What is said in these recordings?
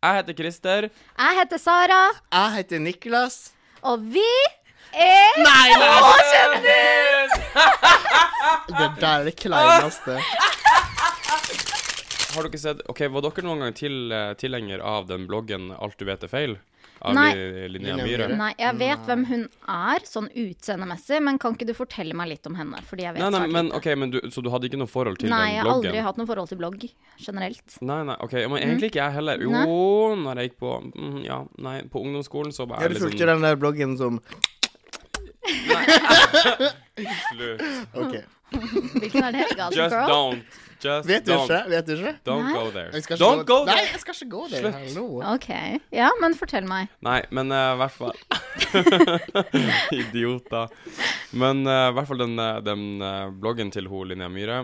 Jeg heter Christer. Jeg heter Sara, Jeg heter Niklas. og vi er Nei, nei! kjendis! Det der er det kleineste. Ah. Har dere sett OK, var dere noen gang til, eh, tilhenger av den bloggen Alt du vet er feil? Av Nei. Li- Linnea Linnea Myhre? Myhre. Nei, jeg vet hvem hun er, sånn utseendemessig, men kan ikke du fortelle meg litt om henne? Fordi jeg vet Nei, nei, svært men lite. ok, men du, Så du hadde ikke noe forhold til Nei, jeg den har bloggen? aldri hatt noe forhold til blogg generelt. Nei, nei, ok, men egentlig ikke jeg heller. Jo, Nei. når jeg gikk på mm, Ja, nei, på ungdomsskolen så var Ja, jeg du litt fulgte sånn den der bloggen som Slutt. OK. Hvilken er det? Gossip Just Girl? don't. Just Vet du don't. ikke? Vet du ikke? Don't Nei. go there. Jeg skal ikke Don't go Nei, there! jeg skal ikke gå der. Slutt. Hallo. Ok. Ja, men fortell meg. Nei, men eh, i hvert fall Idioter. Men eh, i hvert fall den, eh, den eh, bloggen til hun Linnea Myhre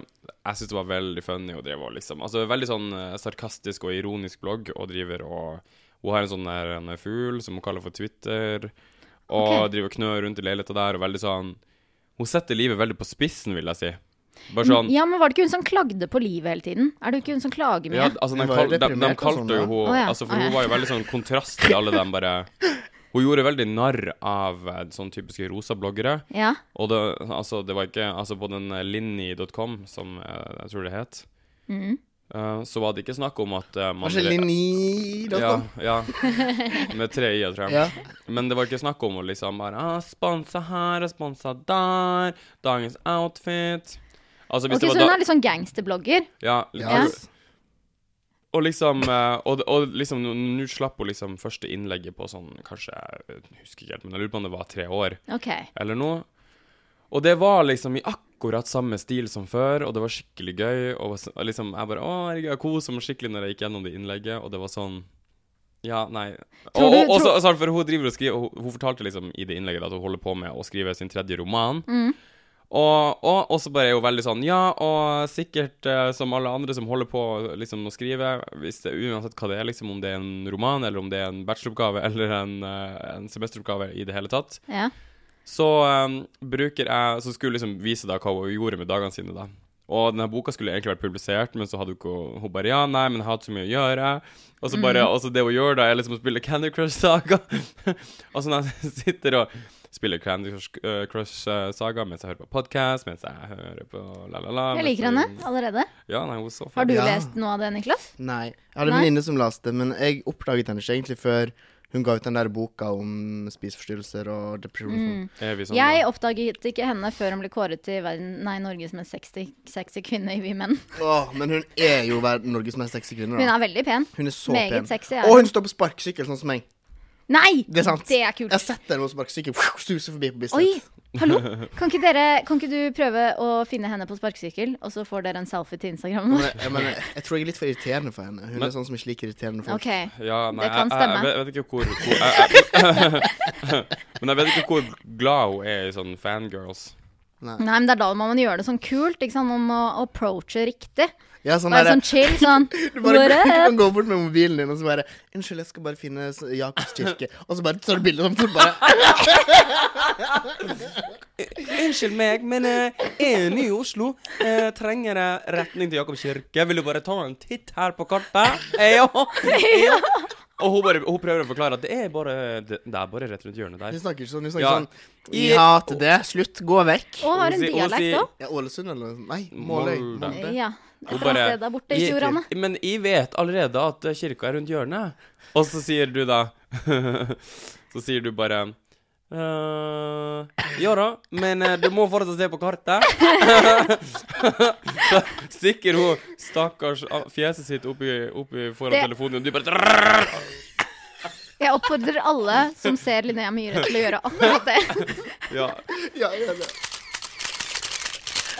Jeg syns det var veldig funny å drive og liksom Altså veldig sånn eh, sarkastisk og ironisk blogg, og driver og Hun har en sånn der en fugl som hun kaller for Twitter, og Ok. driver og knør rundt i leiligheta der, og veldig sånn Hun setter livet veldig på spissen, vil jeg si. Bare sånn Ja, men var det ikke hun som klagde på livet hele tiden? Er det ikke hun som klager mye? Ja, altså, de, Hun var kal jo de, de deprimert og kalte sånn, jo da. hun Å ja, altså, For å ja. hun var jo veldig sånn kontrast til alle dem bare Hun gjorde veldig narr av eh, sånn typiske rosa bloggere. Ja. Og det, altså, det var ikke Altså, på den eh, linni.com, som eh, jeg tror det het, Mm. eh, så var det ikke snakk om at eh, man Kanskje ja, Linni.com? ja. Med tre i-er, tror jeg. Ja. Men det var ikke snakk om å liksom bare ah, Sponsa her og sponsa der. Dagens outfit. Altså, hvis Ok, så det hun var er litt sånn gangsterblogger. Ja, Ja. liksom, og liksom, eh, og, og liksom nå- Nå slapp hun liksom første innlegget på sånn Kanskje, jeg husker ikke helt Men jeg lurer på om det var tre år Ok. Eller noe Og det var liksom i akkurat samme stil som før Og det var skikkelig gøy Og s- og liksom, jeg bare, å herregud, jeg koset meg skikkelig Når jeg gikk gjennom det innlegget Og det var sånn ja, nei Og, Tror du- og, og så, tror- så- for hun driver og skriver og hun, hun fortalte liksom i det innlegget At hun holder på med å skrive sin tredje roman Mm. og, og, og så bare er hun veldig sånn Ja, og sikkert eh, som alle andre som holder på liksom, å skrive hvis det, Uansett hva det er, liksom, om det er en roman, eller om det er en bacheloroppgave eller en, eh, en semesteroppgave i det hele tatt, Ja. så eh, bruker jeg Så skulle hun liksom vise da hva hun gjorde med dagene sine, da. Og denne boka skulle egentlig vært publisert, men så hadde hun ikke Hun bare Ja, nei, men jeg hadde så mye å gjøre. Og så Mhm. bare Og så det hun gjør, da, er liksom å spille Candy Crush Saga. og så når jeg sitter og spiller Candy Crush, eh, Crush eh, Saga mens jeg hører på podkast, mens jeg hører på la-la-la Jeg liker henne allerede. Ja, nei, hun er så Har du Ja. lest noe av det, Niklas? Nei. Jeg hadde en Nei. venninne som leste, men jeg oppdaget henne ikke egentlig før hun ga ut den der boka om spiseforstyrrelser Mm. og depresjon. Er vi sånn, da? Jeg oppdaget ikke henne før hun ble kåret til verden, nei, Norges mest sexy, sexy kvinne i Vi menn. Åh, men hun er jo ver- Norges mest sexy kvinne. Hun Da. er veldig pen. Hun er så meget pen. sexy, ja. Og hun står på sparkesykkel, sånn som meg. Nei! Det er sant. Jeg kult. har sett henne på sparkesykkel suse forbi på Oi! Bislett. Hallo! Kan ikke, dere, kan ikke du prøve å finne henne på sparkesykkel, og så får dere en selfie til Instagram? Men, jeg, men jeg, jeg tror jeg er litt for irriterende for henne. Hun Men- er sånn som ikke liker irriterende folk. OK. ja, nei, det kan jeg- Jeg, jeg, stemme. vet, jeg vet ikke hvor, hvor jeg, jeg, Men jeg vet ikke hvor glad hun er i sånn fangirls. Nei, men det er da man må gjøre det sånn kult. Ikke sant? Man må approache riktig. Ja, sånn Være der, sånn chill. Sånn du bare What du up? kan gå bort med mobilen din og så bare 'Unnskyld, jeg skal bare finne s- Jakobs kirke.' Og så bare tar du bilde sånn. Så bare, Unnskyld meg, men jeg er ny i Oslo. Eh, trenger jeg retning til Jakob kirke? Vil du bare ta en titt her på kartet? Eh, ja. Og hun, bare, hun prøver å forklare at det er bare, det, det er bare rett rundt hjørnet hun der. snakker ikke sånn. Hun snakker Ja. sånn 'Vi hater det. Slutt. Gå vekk.' Og har Hun en sier- hun dialekt sier- òg. Ja, Ålesund eller noe sånt. Nei, Måløy. Molde. Molde. Ja. Hun Fra bare, stedet der borte i «Jeg- Fjordane. Men jeg vet allerede at eh, kirka er rundt hjørnet. Og så sier du da Så sier du bare «Eh, ja da, men eh, du må fortsatt se på kartet. så stikker hun stakkars ah, fjeset sitt oppi, oppi foran Det- telefonen, og du bare Jeg oppfordrer alle som ser Linnea Myhre, til å gjøre akkurat det. ja. Ja, ja, ja.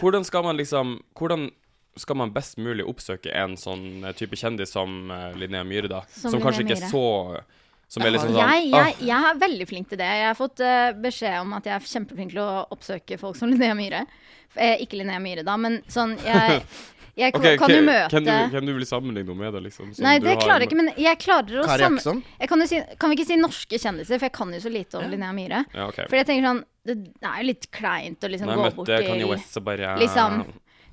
Hvordan skal man liksom Hvordan skal man best mulig oppsøke en sånn eh, type kjendis som eh, Linnea Myhre, da? Som, Som Linnea kanskje ikke er så Som er liksom sånn Jeg, «Ah, jeg, jeg er veldig flink til det. Jeg har fått eh, beskjed om at jeg er kjempeflink til å oppsøke folk som Linnea Myhre. Eh, ikke Linnea Myhre, da, men sånn Jeg, jeg Ok, kan jo ok, møte Hvem du, hvem du vil sammenligne henne med, da, liksom? som Nei, du det har- klarer jeg ikke, men jeg klarer å Kari sam- Jakkesson? Jeg kan, jo si, kan vi ikke si norske kjendiser, for jeg kan jo så lite om Linnea Myhre. Ja, ok. For jeg tenker sånn Det er jo litt kleint å liksom Nei, gå jeg bort møtte Kanye til West og bare Liksom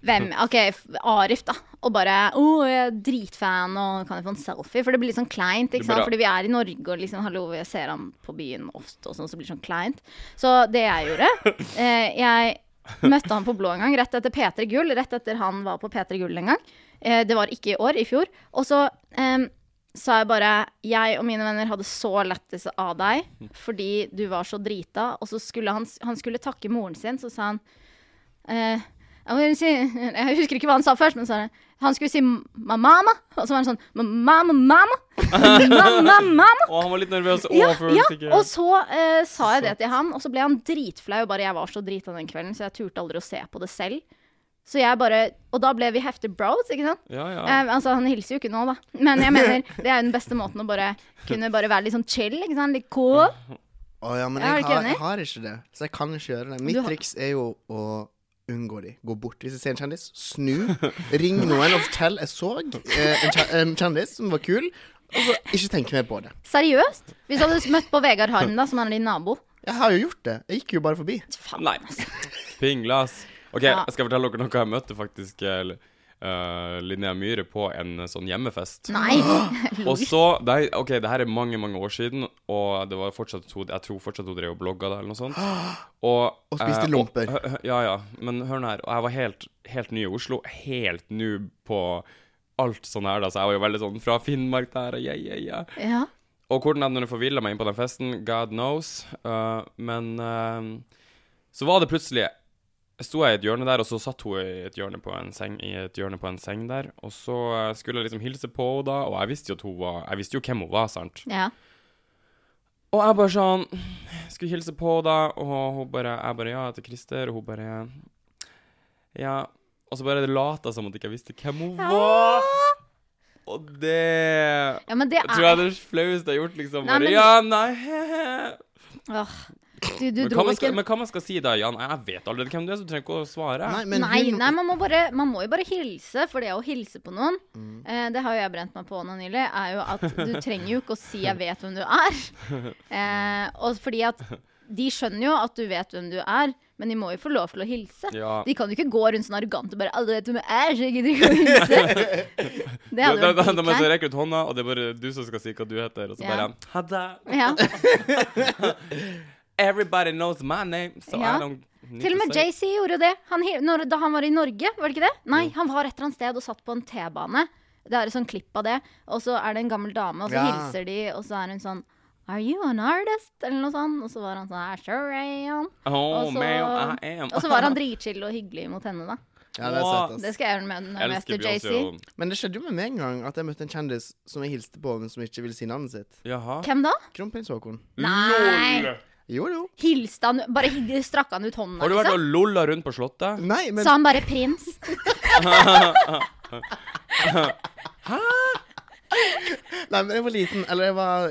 Hvem? Ok, f- Arif, da. Og bare Å, jeg er dritfan, og kan jeg få en selfie? For det blir litt sånn kleint, Det ikke sant? blir- Fordi vi er i Norge, og liksom hallo, jeg ser han på byen ofte, og sånn, så blir det sånn kleint. Så det jeg gjorde eh, Jeg møtte han på Blå en gang, rett etter P3 Gull. Rett etter han var på P3 Gull en gang. Eh, det var ikke i år, i fjor. Og så eh, sa jeg bare Jeg og mine venner hadde så lettelse av deg fordi du var så drita. Og så skulle han, han skulle takke moren sin, så sa han eh, jeg, vil si, jeg husker ikke hva han sa først, men så sa han Han skulle si ma- mamma, og så var han sånn ma- mamma, mamma, mamma, mamma. Og han var litt nervøs og Ja, ja, følte ikke og så eh, sa jeg det til han, og så ble han dritflau. og Bare jeg var så drita den kvelden, så jeg turte aldri å se på det selv. Så jeg bare, Og da ble vi heftig bros, ikke sant? Ja, ja. Eh, altså, han hilser jo ikke nå, da. Men jeg mener, det er jo den beste måten å bare kunne bare være litt sånn chill. ikke sant? Litt cool. Å ja, men Ja, er du jeg ikke har, enig? jeg har ikke det. Så jeg kan ikke gjøre det. Mitt Du har- triks er jo å unngå de. Gå bort. Hvis jeg ser en kjendis, snu. Ring noen og fortell jeg så eh, en, kje- en kjendis som var kul, og så ikke tenke mer på det. Seriøst. Hvis du hadde møtt på Vegard Harm, da, som er din nabo Jeg har jo gjort det. Jeg gikk jo bare forbi. Faen. altså. Nei. Pingla, ass. OK, Ja. jeg skal fortelle dere noe. Jeg møtte faktisk eh, eh, Linnea Myhre på en eh, sånn hjemmefest. Nei. Og så det er- OK, det her er mange, mange år siden, og det var fortsatt to, jeg tror fortsatt hun drev og blogga da, eller noe sånt. Og, Og spiste eh, lomper. hø- hø- ja, ja. Men hør nå her. Og jeg var helt, helt ny i Oslo. Helt noob på alt sånn her, da. Så jeg var jo veldig sånn fra Finnmark der, og yeah, yeah, yeah. Ja. Og hvordan jeg hadde forvilla meg inn på den festen, god knows. Eh, men eh, så var det plutselig Sto jeg i et hjørne der, og så satt hun i et hjørne på en seng, i et hjørne på en seng der. Og så eh, skulle jeg liksom hilse på henne, da, og jeg visste jo at hun var Jeg visste jo hvem hun var, sant. ja. Og jeg bare sånn Skulle hilse på henne, da, og hun bare Jeg bare Ja, jeg heter Christer, og hun bare Ja. Og så bare lata som at jeg ikke visste hvem hun var. Og det Ja, men det jeg tror jeg er det er det flaueste jeg har gjort, liksom. Nei, Bare, men- ja, nei, he-he. Åh. Du, du Men hva, dro man ikke skal, men hva man skal si da, Jan? Jeg vet allerede hvem du er, så du trenger ikke å svare. Nei, men Nei, hun nei man, må bare, man må jo bare hilse, for det å hilse på noen Mm. eh, Det har jo jeg brent meg på nå nylig, er jo at du trenger jo ikke å si 'jeg vet hvem du er'. Eh, og fordi at de skjønner jo at du vet hvem du er, men de må jo få lov til å hilse. Ja. De kan jo ikke gå rundt sånn arrogant og bare 'alle vet hvem jeg er', så jeg gidder ikke å hilse. Det Da, hadde da, da, vært da må jeg så dritleit. rekke ut hånda, og det er bare du som skal si hva du heter. Og så Ja. bare ha det. Ja. Everybody knows my name, so Ja. I don't need Til og med to say. Jay-Z gjorde jo det. Han, hi- når, da han var i Norge, var det ikke det? Nei, han var et eller annet sted og satt på en T-bane. Det er et sånt klipp av det. Og så er det en gammel dame, og så Ja. hilser de, og så er hun sånn Are you an artist? Eller noe sånt. Og så var han sånn I sure am. Oh, Og så- man, I am. Og så var han dritchill og hyggelig mot henne, da. Ja, det er søtt, Det ass. skal jeg gjøre med når jeg Elsker møter Beyoncé Jay-Z. og Men det skjedde jo med meg en gang at jeg møtte en kjendis som jeg hilste på, men som ikke ville si navnet sitt. Jaha. Hvem da? Kronprins Haakon. Nei! Lol. Jo, jo. Hilste han Bare hi- strakk han ut hånda, Har du vært liksom? og lolla rundt på Slottet? Nei, men Sa han bare 'prins'? Nei, men jeg var liten, eller jeg var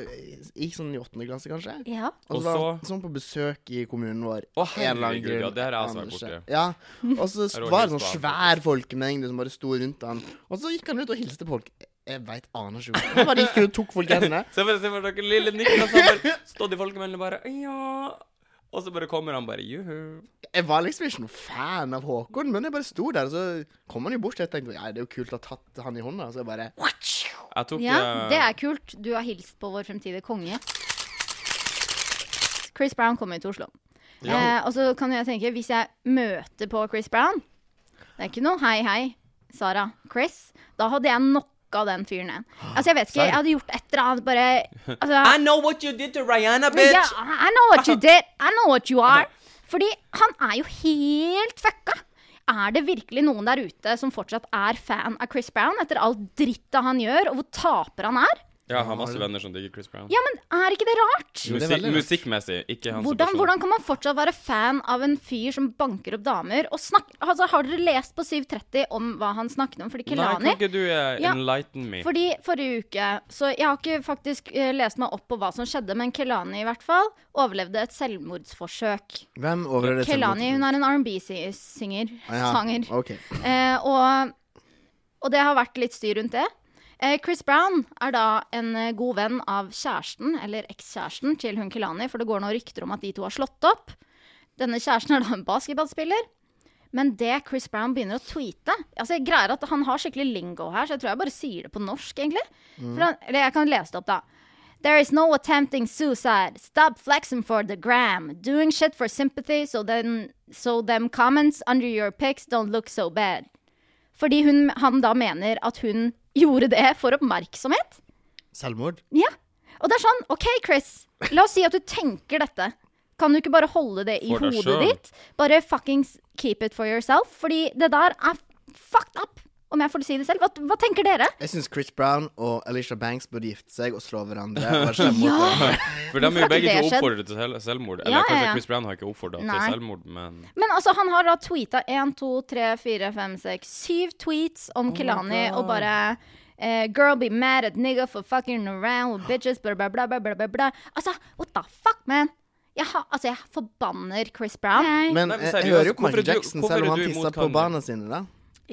gikk sånn i åttende klasse, kanskje. Ja. Og Og så var så- han sånn på besøk i kommunen vår. Å, en eller annen herregud, ja, det her er jeg også aner vært borti. ikke. Ja, Og så Jeg har var også det sånn hilst på svær folkemengde som bare sto rundt han. Og så gikk han ut og hilste på folk. Jeg veit aner ikke hvorfor. Han bare gikk rundt og tok folk i hendene. Se for, se for dere lille Niklas har bare stått i folkemengden og bare Ja. Og så bare kommer han bare juhu. Jeg var liksom ikke noen fan av Håkon, men jeg bare sto der, og så kom han jo bort, og jeg tenkte ja, det er jo kult å ha tatt han i hånda, så jeg bare Jeg tok Ja, eh, det er kult. Du har hilst på vår fremtidige konge. Chris Brown kommer til Oslo. Ja. Eh, og så kan jeg tenke, hvis jeg møter på Chris Brown Det er ikke noe hei, hei, Sara, Chris. Da hadde jeg knocka den fyren ned. Altså, jeg vet ikke, jeg hadde gjort et eller annet, bare altså, I know what you did to Rihanna, ja, I know what you did. I know what you are. Fordi han er jo helt fucka. Er det virkelig noen der ute som fortsatt er fan av Chris Brown etter all drittet han gjør, og hvor taper han er? Ja, jeg har masse venner som digger Chris Brown. Ja, men er ikke det rart? Jo, det er Musikk, veldig rart. musikkmessig, ikke han som Hvordan, person. hvordan kan man fortsatt være fan av en fyr som banker opp damer? Og snakk, altså, har dere lest på 730 om hva han snakket om? Fordi Nei, Kelani kan ikke du eh, Ja, enlighten me? fordi forrige uke Så jeg har ikke faktisk eh, lest meg opp på hva som skjedde, men Kelani i hvert fall overlevde et selvmordsforsøk. Hvem overhører det Kelani hun er en R&B-singer. Sanger. OK. Eh, og, og det har vært litt styr rundt det. Eh, Chris Brown er da en eh, god venn av kjæresten, eller ekskjæresten, til hun Kelani, for det går nå rykter om at de to har slått opp. Denne kjæresten er da en basketballspiller. Men det Chris Brown begynner å tweete altså jeg greier at Han har skikkelig lingo her, så jeg tror jeg bare sier det på norsk, egentlig. For han, eller jeg kan lese det opp, da. There is no attempting suicide. Stop flexing for the gram. Doing shit for sympathy, so, then, so them comments under your pics don't look so bad. Fordi hun, han da mener at hun gjorde det for oppmerksomhet. Selvmord? Ja. Og det er sånn, OK, Chris. La oss si at du tenker dette. Kan du ikke bare holde det i For deg hodet selv. ditt? Bare fuckings keep it for yourself. Fordi det der er fucked up, om jeg får si det selv. Hva, hva tenker dere? Jeg syns Chris Brown og Alicia Banks burde gifte seg og slå hverandre. Og være slemme mot Ja. hverandre. For de er Hvorfor jo har begge to ikke det skjedd? oppfordret til sel- selvmord. Eller Ja, ja, kanskje ja. Chris Brown har ikke oppfordret Nei. til selvmord, men Men altså, han har da tweeta 1, 2, 3, 4, 5, 6, 7 tweets Oh om Kelani og bare eh, Girl be mad at nigga for fucking around with bitches, bla, bla, bla, bla, bla, bla, bla. Altså, what the fuck, man? Jeg, har- altså, jeg forbanner Chris Brown. Men Nei, men jeg, seriøst, jeg hører jo på hvorfor er Michael du- Jackson, hvorfor selv er om han du tissa imot på Kanye? barna sine. da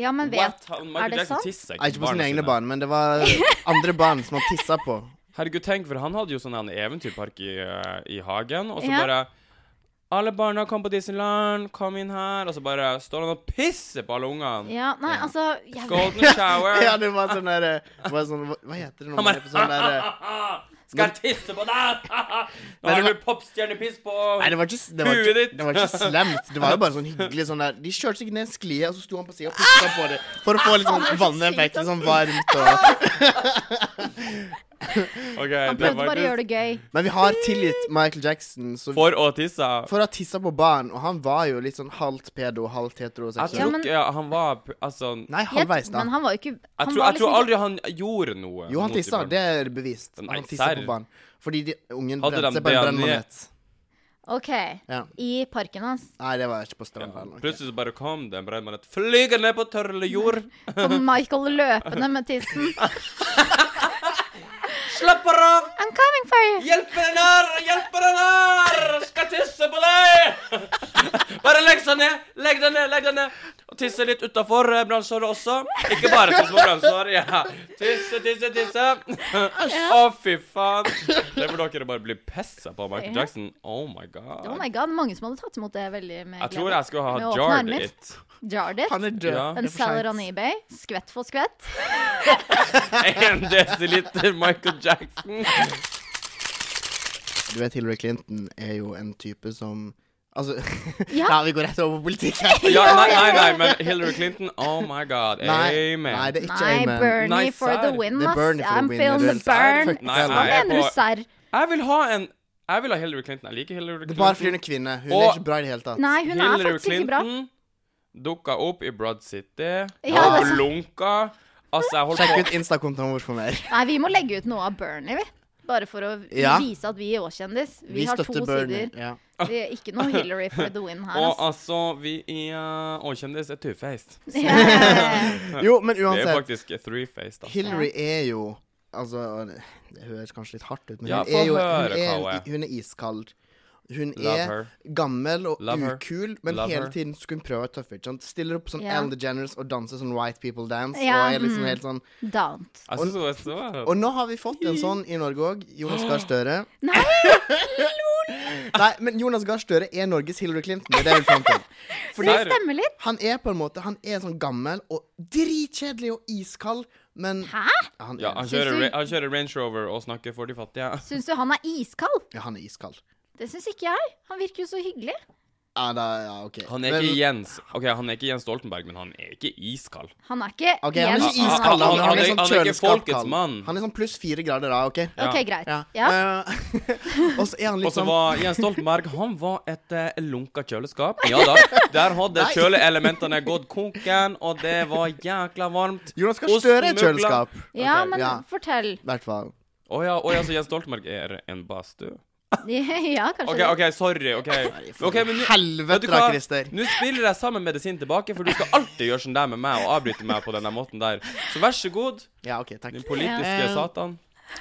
Ja, men What? vet Han- Er Michael det Jackson sant? tisser Nei, ikke på sine barna egne sine. barn, men det var andre barn som han tissa på. Herregud, tenk, for han hadde jo sånn en eventyrpark i, eh, i hagen, og så Ja. bare Alle barna kom på Disneyland, kom inn her, og så bare står han og pisser på alle ungene. Ja, nei, altså jeg vet. Golden shower. Ja, det var sånn der, det var sånn, hva- Hva heter det når man er på sånn der Skal jeg tisse på deg? Nå det har var- du popstjernepiss på Nei, det var ikke, det var Huet ikke, ditt. det var ikke slemt. Det var jo bare sånn hyggelig sånn der De kjørte seg ned en sklie, og så sto han på sida og pusta på det for å få litt sånn vanneffekt. Litt sånn varmt og Ok, Han det Mm. prøvde var bare å gjøre det gøy. Men vi har tilgitt Michael Jackson så, For å tisse. for å ha tissa på barn, og han var jo litt sånn halvt pedo, halvt Jeg heteroseksuell. tror men- ikke han var pu- Altså Nei, Jeg, halvveis, da. men han var jo ikke Jeg han tror, var jeg tror liksom aldri han gjorde noe. Jo, han mot de tissa. barna. Det er bevist. Nei, han tissa serr. på barn. Fordi de, ungen Hadde brente de seg på en DNA? brennmanet. OK. Ja. I parken hans. Nei, det var ikke på stranda. eller noe. Plutselig så bare kom det en brennmann et flygende ned på tørre jord. Kom Michael løpende med tissen. Slapper av! I'm coming for you! Hjelp den her! Hjelp den her! Skal tisse på deg! Bare legg deg ned! Legg deg ned! legg deg ned! Og tisse litt utafor brannsåret også. Ikke bare tisse på brannsår. Ja. Tisse, tisse, tisse. Å, fy faen. Det burde dere bare bli pissa på av Michael Ja. Jackson. Oh my god. Oh my god, mange som hadde tatt imot det veldig med Jeg tror jeg skulle Med ha åpne jarred armer. it. Jarred it. Han er død. Ja. Det En er for selger sent. on eBay. Skvett for skvett. En desiliter Michael Jackson. Du vet, Hillary Clinton er jo en type som Altså Ja. Ja, vi går rett over på politikk her. Ja, nei, nei, nei, men Hillary Clinton, oh my god. Nei, Amen. nei, det er ikke Nei, amen. Bernie Nei, for the serr. win, Det er ass. Bernie for the I'm win, feeling det er the serr. burn. Nei, Hva nei, jeg er mener du, på- serr? Jeg vil ha en Jeg vil ha Hillary Clinton. Jeg liker Hillary Det Clinton. er bare fordi hun er kvinne. Hun er Og- ikke bra i det hele tatt. Nei, hun er Hillary faktisk ikke bra. Clinton dukka opp i Broad City. Ja, og det er så- blunka. Altså, jeg holdt Sjekk på ut Insta-kontoen vår for mer. Nei, vi må legge ut noe av Bernie, vi. Bare for å Ja. vise at vi er også kjendis. Vi, Vi har to støtter Bernie. sider. Ja. Vi er ikke noe Hillary for the win her. Og ass. altså, vi er Og kjendis er two-faced. Ja, ja, ja. Jo, men Det er uansett. faktisk three-faced. Altså. Hillary er jo Altså, det høres kanskje litt hardt ut, men Ja, hun, få er jo, hun, høre er, hva hun er. en- hun er iskald. Hun Love er her. gammel og Love her. ukul, men Love hele her. tiden skulle hun prøve å være tøff. Ikke sant? Stiller opp som Ja. Ellen DeGeneres og danser sånn White People Dance. Ja, og er liksom mm. helt sånn Don't. Jeg synes hun er så Og nå har vi fått en sånn i Norge òg. Jonas Gahr Støre. Nei! Nei, men Jonas Gahr Støre er Norges Hillary Clinton. Det er det jeg vil fram til. Det Fordi Nei. stemmer litt. han er på en måte Han er sånn gammel og dritkjedelig og iskald, men Hæ? han ja, altså- er, han, kjører, Synes du- ra- han kjører Range Rover og snakker for de fattige. Syns du han er iskald? ja, han er iskald. Det syns ikke jeg. Han virker jo så hyggelig. Ja, da, ja, ok. Han er ikke Jens Ok, han er ikke Jens Stoltenberg, men han er ikke iskald. Han er ikke Ok, han er Jens, ikke han- han- iskald. Han, han, han er- er sånn han er ikke folkets kjøleskapskald. mann. Han er sånn pluss fire grader da, OK? Ja. OK, greit. Ja. Ja. Eh, og så er Og han litt så sånn var Jens Stoltenberg Han var et eh, lunka kjøleskap. Ja da. Der hadde Nei. kjøleelementene gått konken, og det var jækla varmt. Jonas Gahr Osten Støre er et mugla. kjøleskap. ja, Ok. men Ja. fortell. I hvert fall. Å ja, å ja, så Jens Stoltenberg er en badstue? Ja, kanskje OK, det. OK, sorry. OK. Ok, men nå- vet du Helvete, da, hva? Christer. Nå spiller jeg samme medisin tilbake, for du skal alltid gjøre sånn der med meg og avbryte meg på denne måten der. Så vær så god, Ja, OK, takk. din politiske Ja. satan.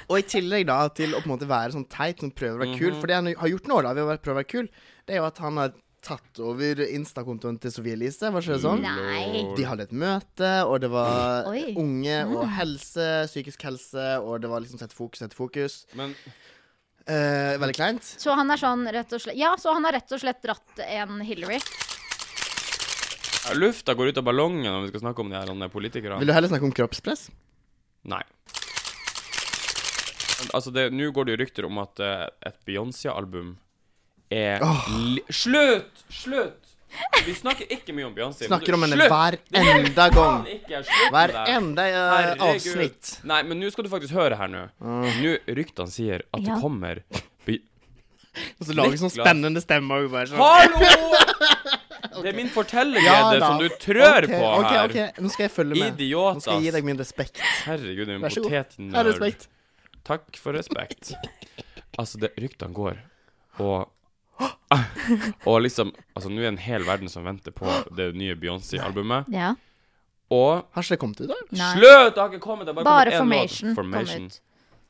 Og i tillegg da til å på en måte være sånn teit som prøver å være kul, Mhm. for det han har gjort nå, da ved å være- prøve å være kul, det er jo at han har tatt over Insta-kontoen til Sofie Elise, var ikke det sånn? Nei. De hadde et møte, og det var Oi. Ah. unge og helse, psykisk helse, og det var liksom sett fokus, sett fokus. Men Eh, veldig kleint. Så han er sånn rett og slett Ja, så han har rett og slett dratt en Hillary. eh, Lufta går ut av ballongen når vi skal snakke om de her andre politikerne. Vil du heller snakke om kroppspress? Nei. Altså, det- nå går det jo rykter om at eh, et Beyoncé-album er li Slutt! Slutt! Vi snakker ikke mye om Beyoncé. men Snakker du- om henne Slutt! hver Det gjør vi enda gang. faen ikke. Slutt med Hver det. enda eh, Herregud. avsnitt. Nei, men nå skal du faktisk høre her nå. Nå ryktene sier at Ja. det kommer Be Og så lager vi sånn Niklas. spennende stemmer. og Bare sånn. Hallo! Det er min fortellerglede da. som du trør Ok, på her. ok, ok, Nå skal jeg følge med. Idiotas. Nå skal jeg gi deg min respekt. Herregud, du er en Vær så god. potetnerd. Ja, respekt. Takk for respekt. Altså, det, ryktene går, og Og liksom Altså, nå er en hel verden som venter på det nye Beyoncé-albumet, Ja. og Har ikke det kommet ut, da? Nei. Slutt! Det har ikke kommet. Det har bare Bare kommet en Formation låt. kom ut.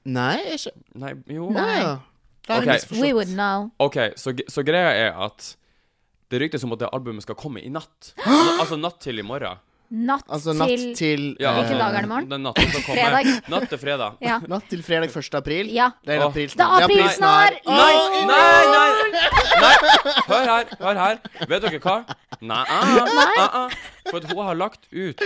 Nei, ikke Nei, jo. Nei. Å, ja. Da er det Ok. misforstått. We would know. OK, så, g- så greia er at det ryktes om at det albumet skal komme i natt. Altså, altså natt til i morgen. Natt, Altså natt til til Hvilken eh, dag er det i morgen? Den natten som kommer. Fredag. Natt til fredag. Ja. Natt til fredag 1. april. Ja. Det er Åh. april Det er snart. april snart! Nei, nei, nei, nei. Hør her, hør her. Vet dere hva? Nei. ah, ah, ah. For at hun har lagt ut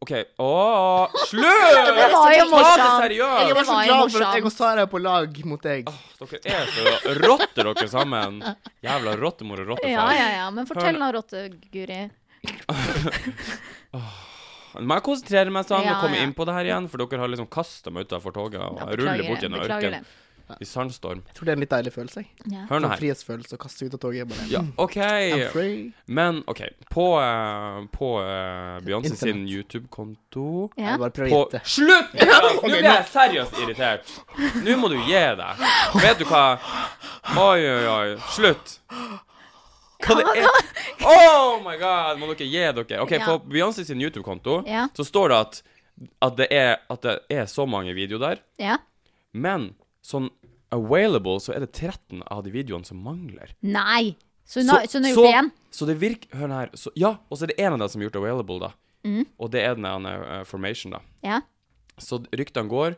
OK. Å, slutt! Det var Ta jo det morsomt. Jeg seriøst! var Det så var jo glad for at jeg morsomt. og Sara er på lag mot deg. Dere er så rotter, dere sammen. Jævla rottemor og rottefar. Ja, ja, ja. Men Hør fortell nå. nå, Rotte-Guri. Må jeg konsentrere meg sånn Ja, og komme ja. inn på det her igjen? For dere har liksom kasta meg utafor toget og Ja, jeg beklager ruller bort det, gjennom beklager ørken i sandstorm. Jeg tror det er en litt deilig følelse. jeg. Ja. Hør nå Sånn her. frihetsfølelse å kaste ut av toget. Bare. Ja, OK. I'm free. Men OK. På, eh, på eh, Beyoncé sin Internett. YouTube-konto Ja. Jeg bare prøver å på gjette. Slutt! Niklas! Nå blir jeg seriøst irritert. Nå må du gi deg. Vet du hva? Oi, oi, oi. Slutt. Hva det er Oh my god! Må dere gi dere. OK, Ja. på Beyoncé sin YouTube-konto Ja. så står det at, at, det er, at det er så mange videoer der, ja. men sånn available så er det 13 av de videoene som mangler. Nei! Så hun har så hun har gjort det igjen? så det virker Hør her. Så, ja, og så er det en av dem som er gjort available, da. Mm. Og det er den der eh, Formation, da. Ja. Så ryktene går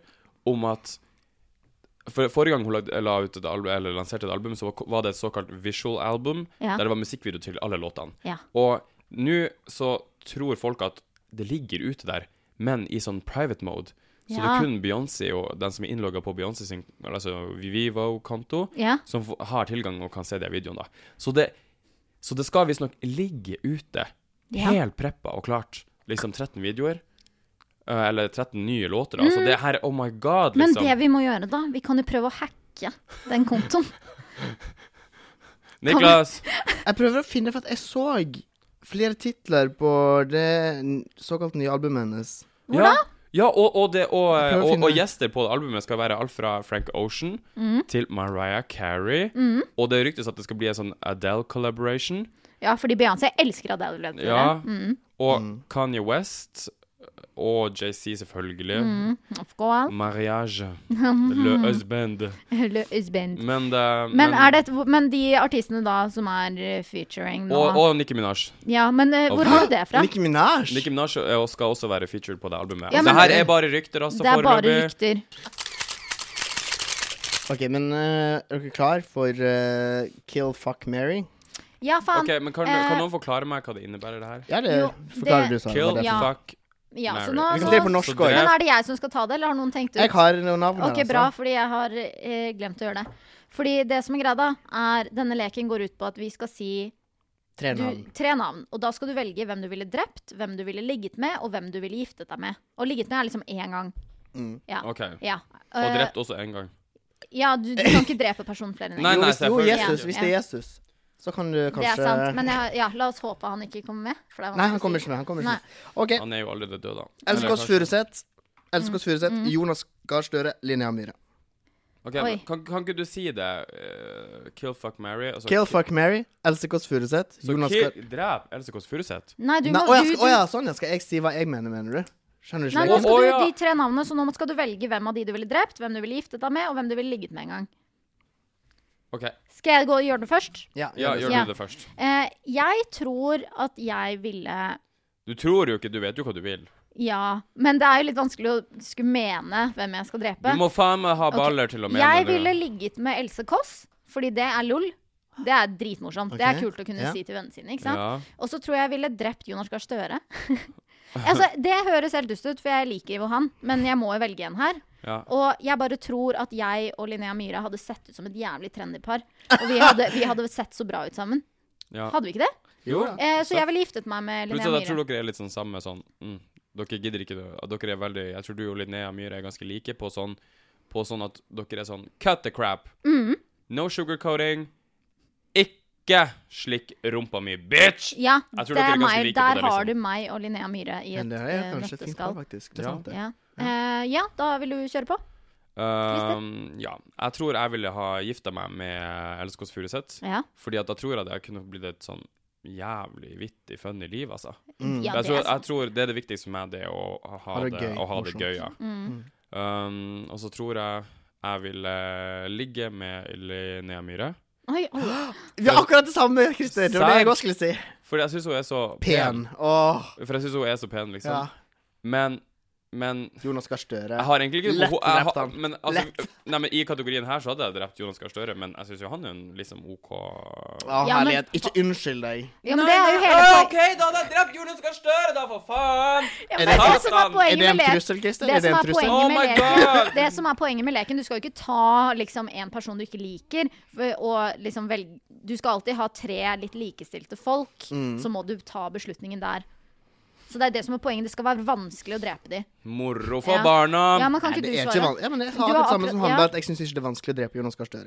om at for Forrige gang hun la, la ut et album, eller lanserte et album, så var, var det et såkalt visual album, Ja. der det var musikkvideo til alle låtene. Ja. Og nå så tror folk at det ligger ute der, men i sånn private mode. Så det Ja. er kun Beyoncé og den som er innlogga på Beyoncé sin altså Vivo-konto, Ja. som f- har tilgang og kan se de videoene. da. Så det, så det skal visstnok ligge ute, Ja. helt preppa og klart, liksom 13 videoer. Eh, Eller 13 nye låter. Altså, det her Oh my god, Mm. Men liksom. det vi må gjøre, da Vi kan jo prøve å hacke den kontoen. Niklas! Jeg prøver å finne, for at jeg så flere titler på det n- såkalt nye albumet hennes. Ja, ja og, og, det, og, Jeg prøver å og, og finne- gjester på det albumet skal være alt fra Frank Ocean Mm. til Mariah Carey. Og det ryktes at det skal bli en sånn Adele-collaboration. Ja, fordi Beyoncé elsker Adele. vet dere. Ja. Mm. Og Mm. Kanye West. Og JC, selvfølgelig. Mm. Of course. Mariage. Le husband. Mm. Eller husband. Men det Mhm. Men, er det et, men de artistene da som er eh, featuring nå og, og Nicki Minaj. Ja, men eh, hvor Hæ? har du det fra? Nicki Minaj. Nicki Minaj er- og skal også være featured på det albumet. Altså, Ja, det men- her er bare rykter, altså, Det er bare foreløpig. rykter. OK, men eh, er dere klar for eh, Kill Fuck Mary? Ja, faen. Ok, men kan, Eh, kan noen forklare meg hva det innebærer, det her? Ja, det Jo, forklarer det- du, Sara. Kill, hva det er for Ja. fuck, ja, så Mary. nå, Vi kan så, si det på norsk Så også. det- men er det jeg som skal ta det, eller har noen tenkt ut? Jeg har noen navn Ok, her, altså. bra, fordi jeg har eh, glemt å gjøre det. Fordi det som er greia, da, er denne leken går ut på at vi skal si Tre du, navn. tre navn. Og da skal du velge hvem du ville drept, hvem du ville ligget med, og hvem du ville giftet deg med. Og ligget med er liksom én gang. Mm. Ja. OK. ja. Og Eh, drept også én gang. ja du, du kan ikke drepe personen flere enn Nei, én. Jo, nei, hvis, selvfølgelig. jo, Jesus. Ja. Hvis det er Jesus, så kan du Det kanskje er sant. Men jeg, har- ja, la oss håpe han ikke kommer med. For det er Nei, han kommer ikke med. Han kommer ikke Nei. med. OK. Han er jo allerede død, da. Else Eller Kåss kanskje- Furuseth. Else Mm. Kåss Furuseth. Jonas Gahr Støre. Linnea Myhre. Ok, men Oi. kan, kan ikke du si det? eh, kill, fuck, marry altså, Kill ki- Fuck Mary. Else Kåss Furuseth. Så Jonas Gahr kill, drep Else Kåss Furuseth. Nei, du Nei, må Å ja, du, skal- du, å ja, sånn ja. Skal jeg si hva jeg mener, mener du? Skjønner du Nei, Å, nå ikke? lenger? skal å, du, ja. de tre navnene, så nå skal du velge hvem av de du ville drept, hvem du ville giftet deg med, og hvem du ville ligget med en gang. OK, Skal jeg gå og gjøre det først? Ja, ja, gjør Ja. du det først. Eh, jeg tror at jeg ville Du tror jo ikke Du vet jo hva du vil. Ja. Men det er jo litt vanskelig å skulle mene hvem jeg skal drepe. Du må faen meg ha Ok. baller til å mene det. jeg ville ligget med Else Kåss, fordi det er lol. Det er dritmorsomt. Det er Ok, kult å kunne ja. si til vennene sine. ikke sant? Ja. Og så tror jeg jeg ville drept Jonas Gahr Støre. altså, det høres helt dust ut, for jeg liker jo han, men jeg må jo velge en her. ja. Og jeg bare tror at jeg og Linnea Myhre hadde sett ut som et jævlig trendy par. Og vi hadde, vi hadde sett så bra ut sammen. ja. Hadde vi ikke det? Jo da. Eh, så jeg ville giftet meg med Plutselig, Linnea jeg tror Myhre. dere er litt sånn samme sånn mm, Dere gidder ikke det. og Dere er veldig Jeg tror du og Linnea Myhre er ganske like på sånn På sånn at dere er sånn Cut the crap. Mm. No sugarcoating. Ikke slikk rumpa mi, bitch! Ja, Jeg tror det dere er er ganske meg. like på Der det, har du liksom. meg og Linnea Myhre i et Men det er jeg eh, kanskje tenkt på, nøtteskall. faktisk. Det er Ja. sant, det. Ja. Eh, ja, da vil du kjøre på? Um, ja. Jeg tror jeg ville ha gifta meg med Else Kåss Furuseth. Ja. Fordi at da tror jeg det kunne blitt et sånn jævlig vittig funny liv, altså. Mm. ja jeg, det tror, er sant. jeg tror det er det viktigste med det, å å ha Ha det, det gøy, å ha det morsomt. gøy ja. Mm. Um, og så tror jeg jeg vil eh, ligge med Linnea Myhre. Oi, alle Vi har akkurat det samme, Christer. Det var det jeg Serr? også skulle si. Fordi jeg syns hun er så Pen. Åh. For jeg syns hun er så pen, liksom. Ja. Men Men Jonas Gahr Støre. jeg har egentlig ikke Lett ho- jeg drept har- han. Men, altså, Nei, men I kategorien her så hadde jeg drept Jonas Gahr Støre, men jeg syns jo han er en liksom OK Å, Ja, men- herlighet. Ikke unnskyld deg. Ja, men det er jo hele poenget. da hadde jeg drept Jonas Gahr Støre, da, for faen! Ja, Er men det, er det- det som er Er poenget det med en leken. trussel, Christer? Det Er det som en er Oh trussel? poenget my med leken, God! det som er poenget med leken Du skal jo ikke ta liksom, en person du ikke liker, for- og liksom velge Du skal alltid ha tre litt likestilte folk, Mm. så må du ta beslutningen der. Så det er det som er poenget. Det skal være vanskelig å drepe de. Moro for Ja. barna. Ja, men kan Nei, ikke det du Um, er ikke svare? van- Ja, men jeg Du har har det samme akkurat- som ja. Hanberg. at Jeg syns ikke det er vanskelig å drepe Jonas Gahr Støre.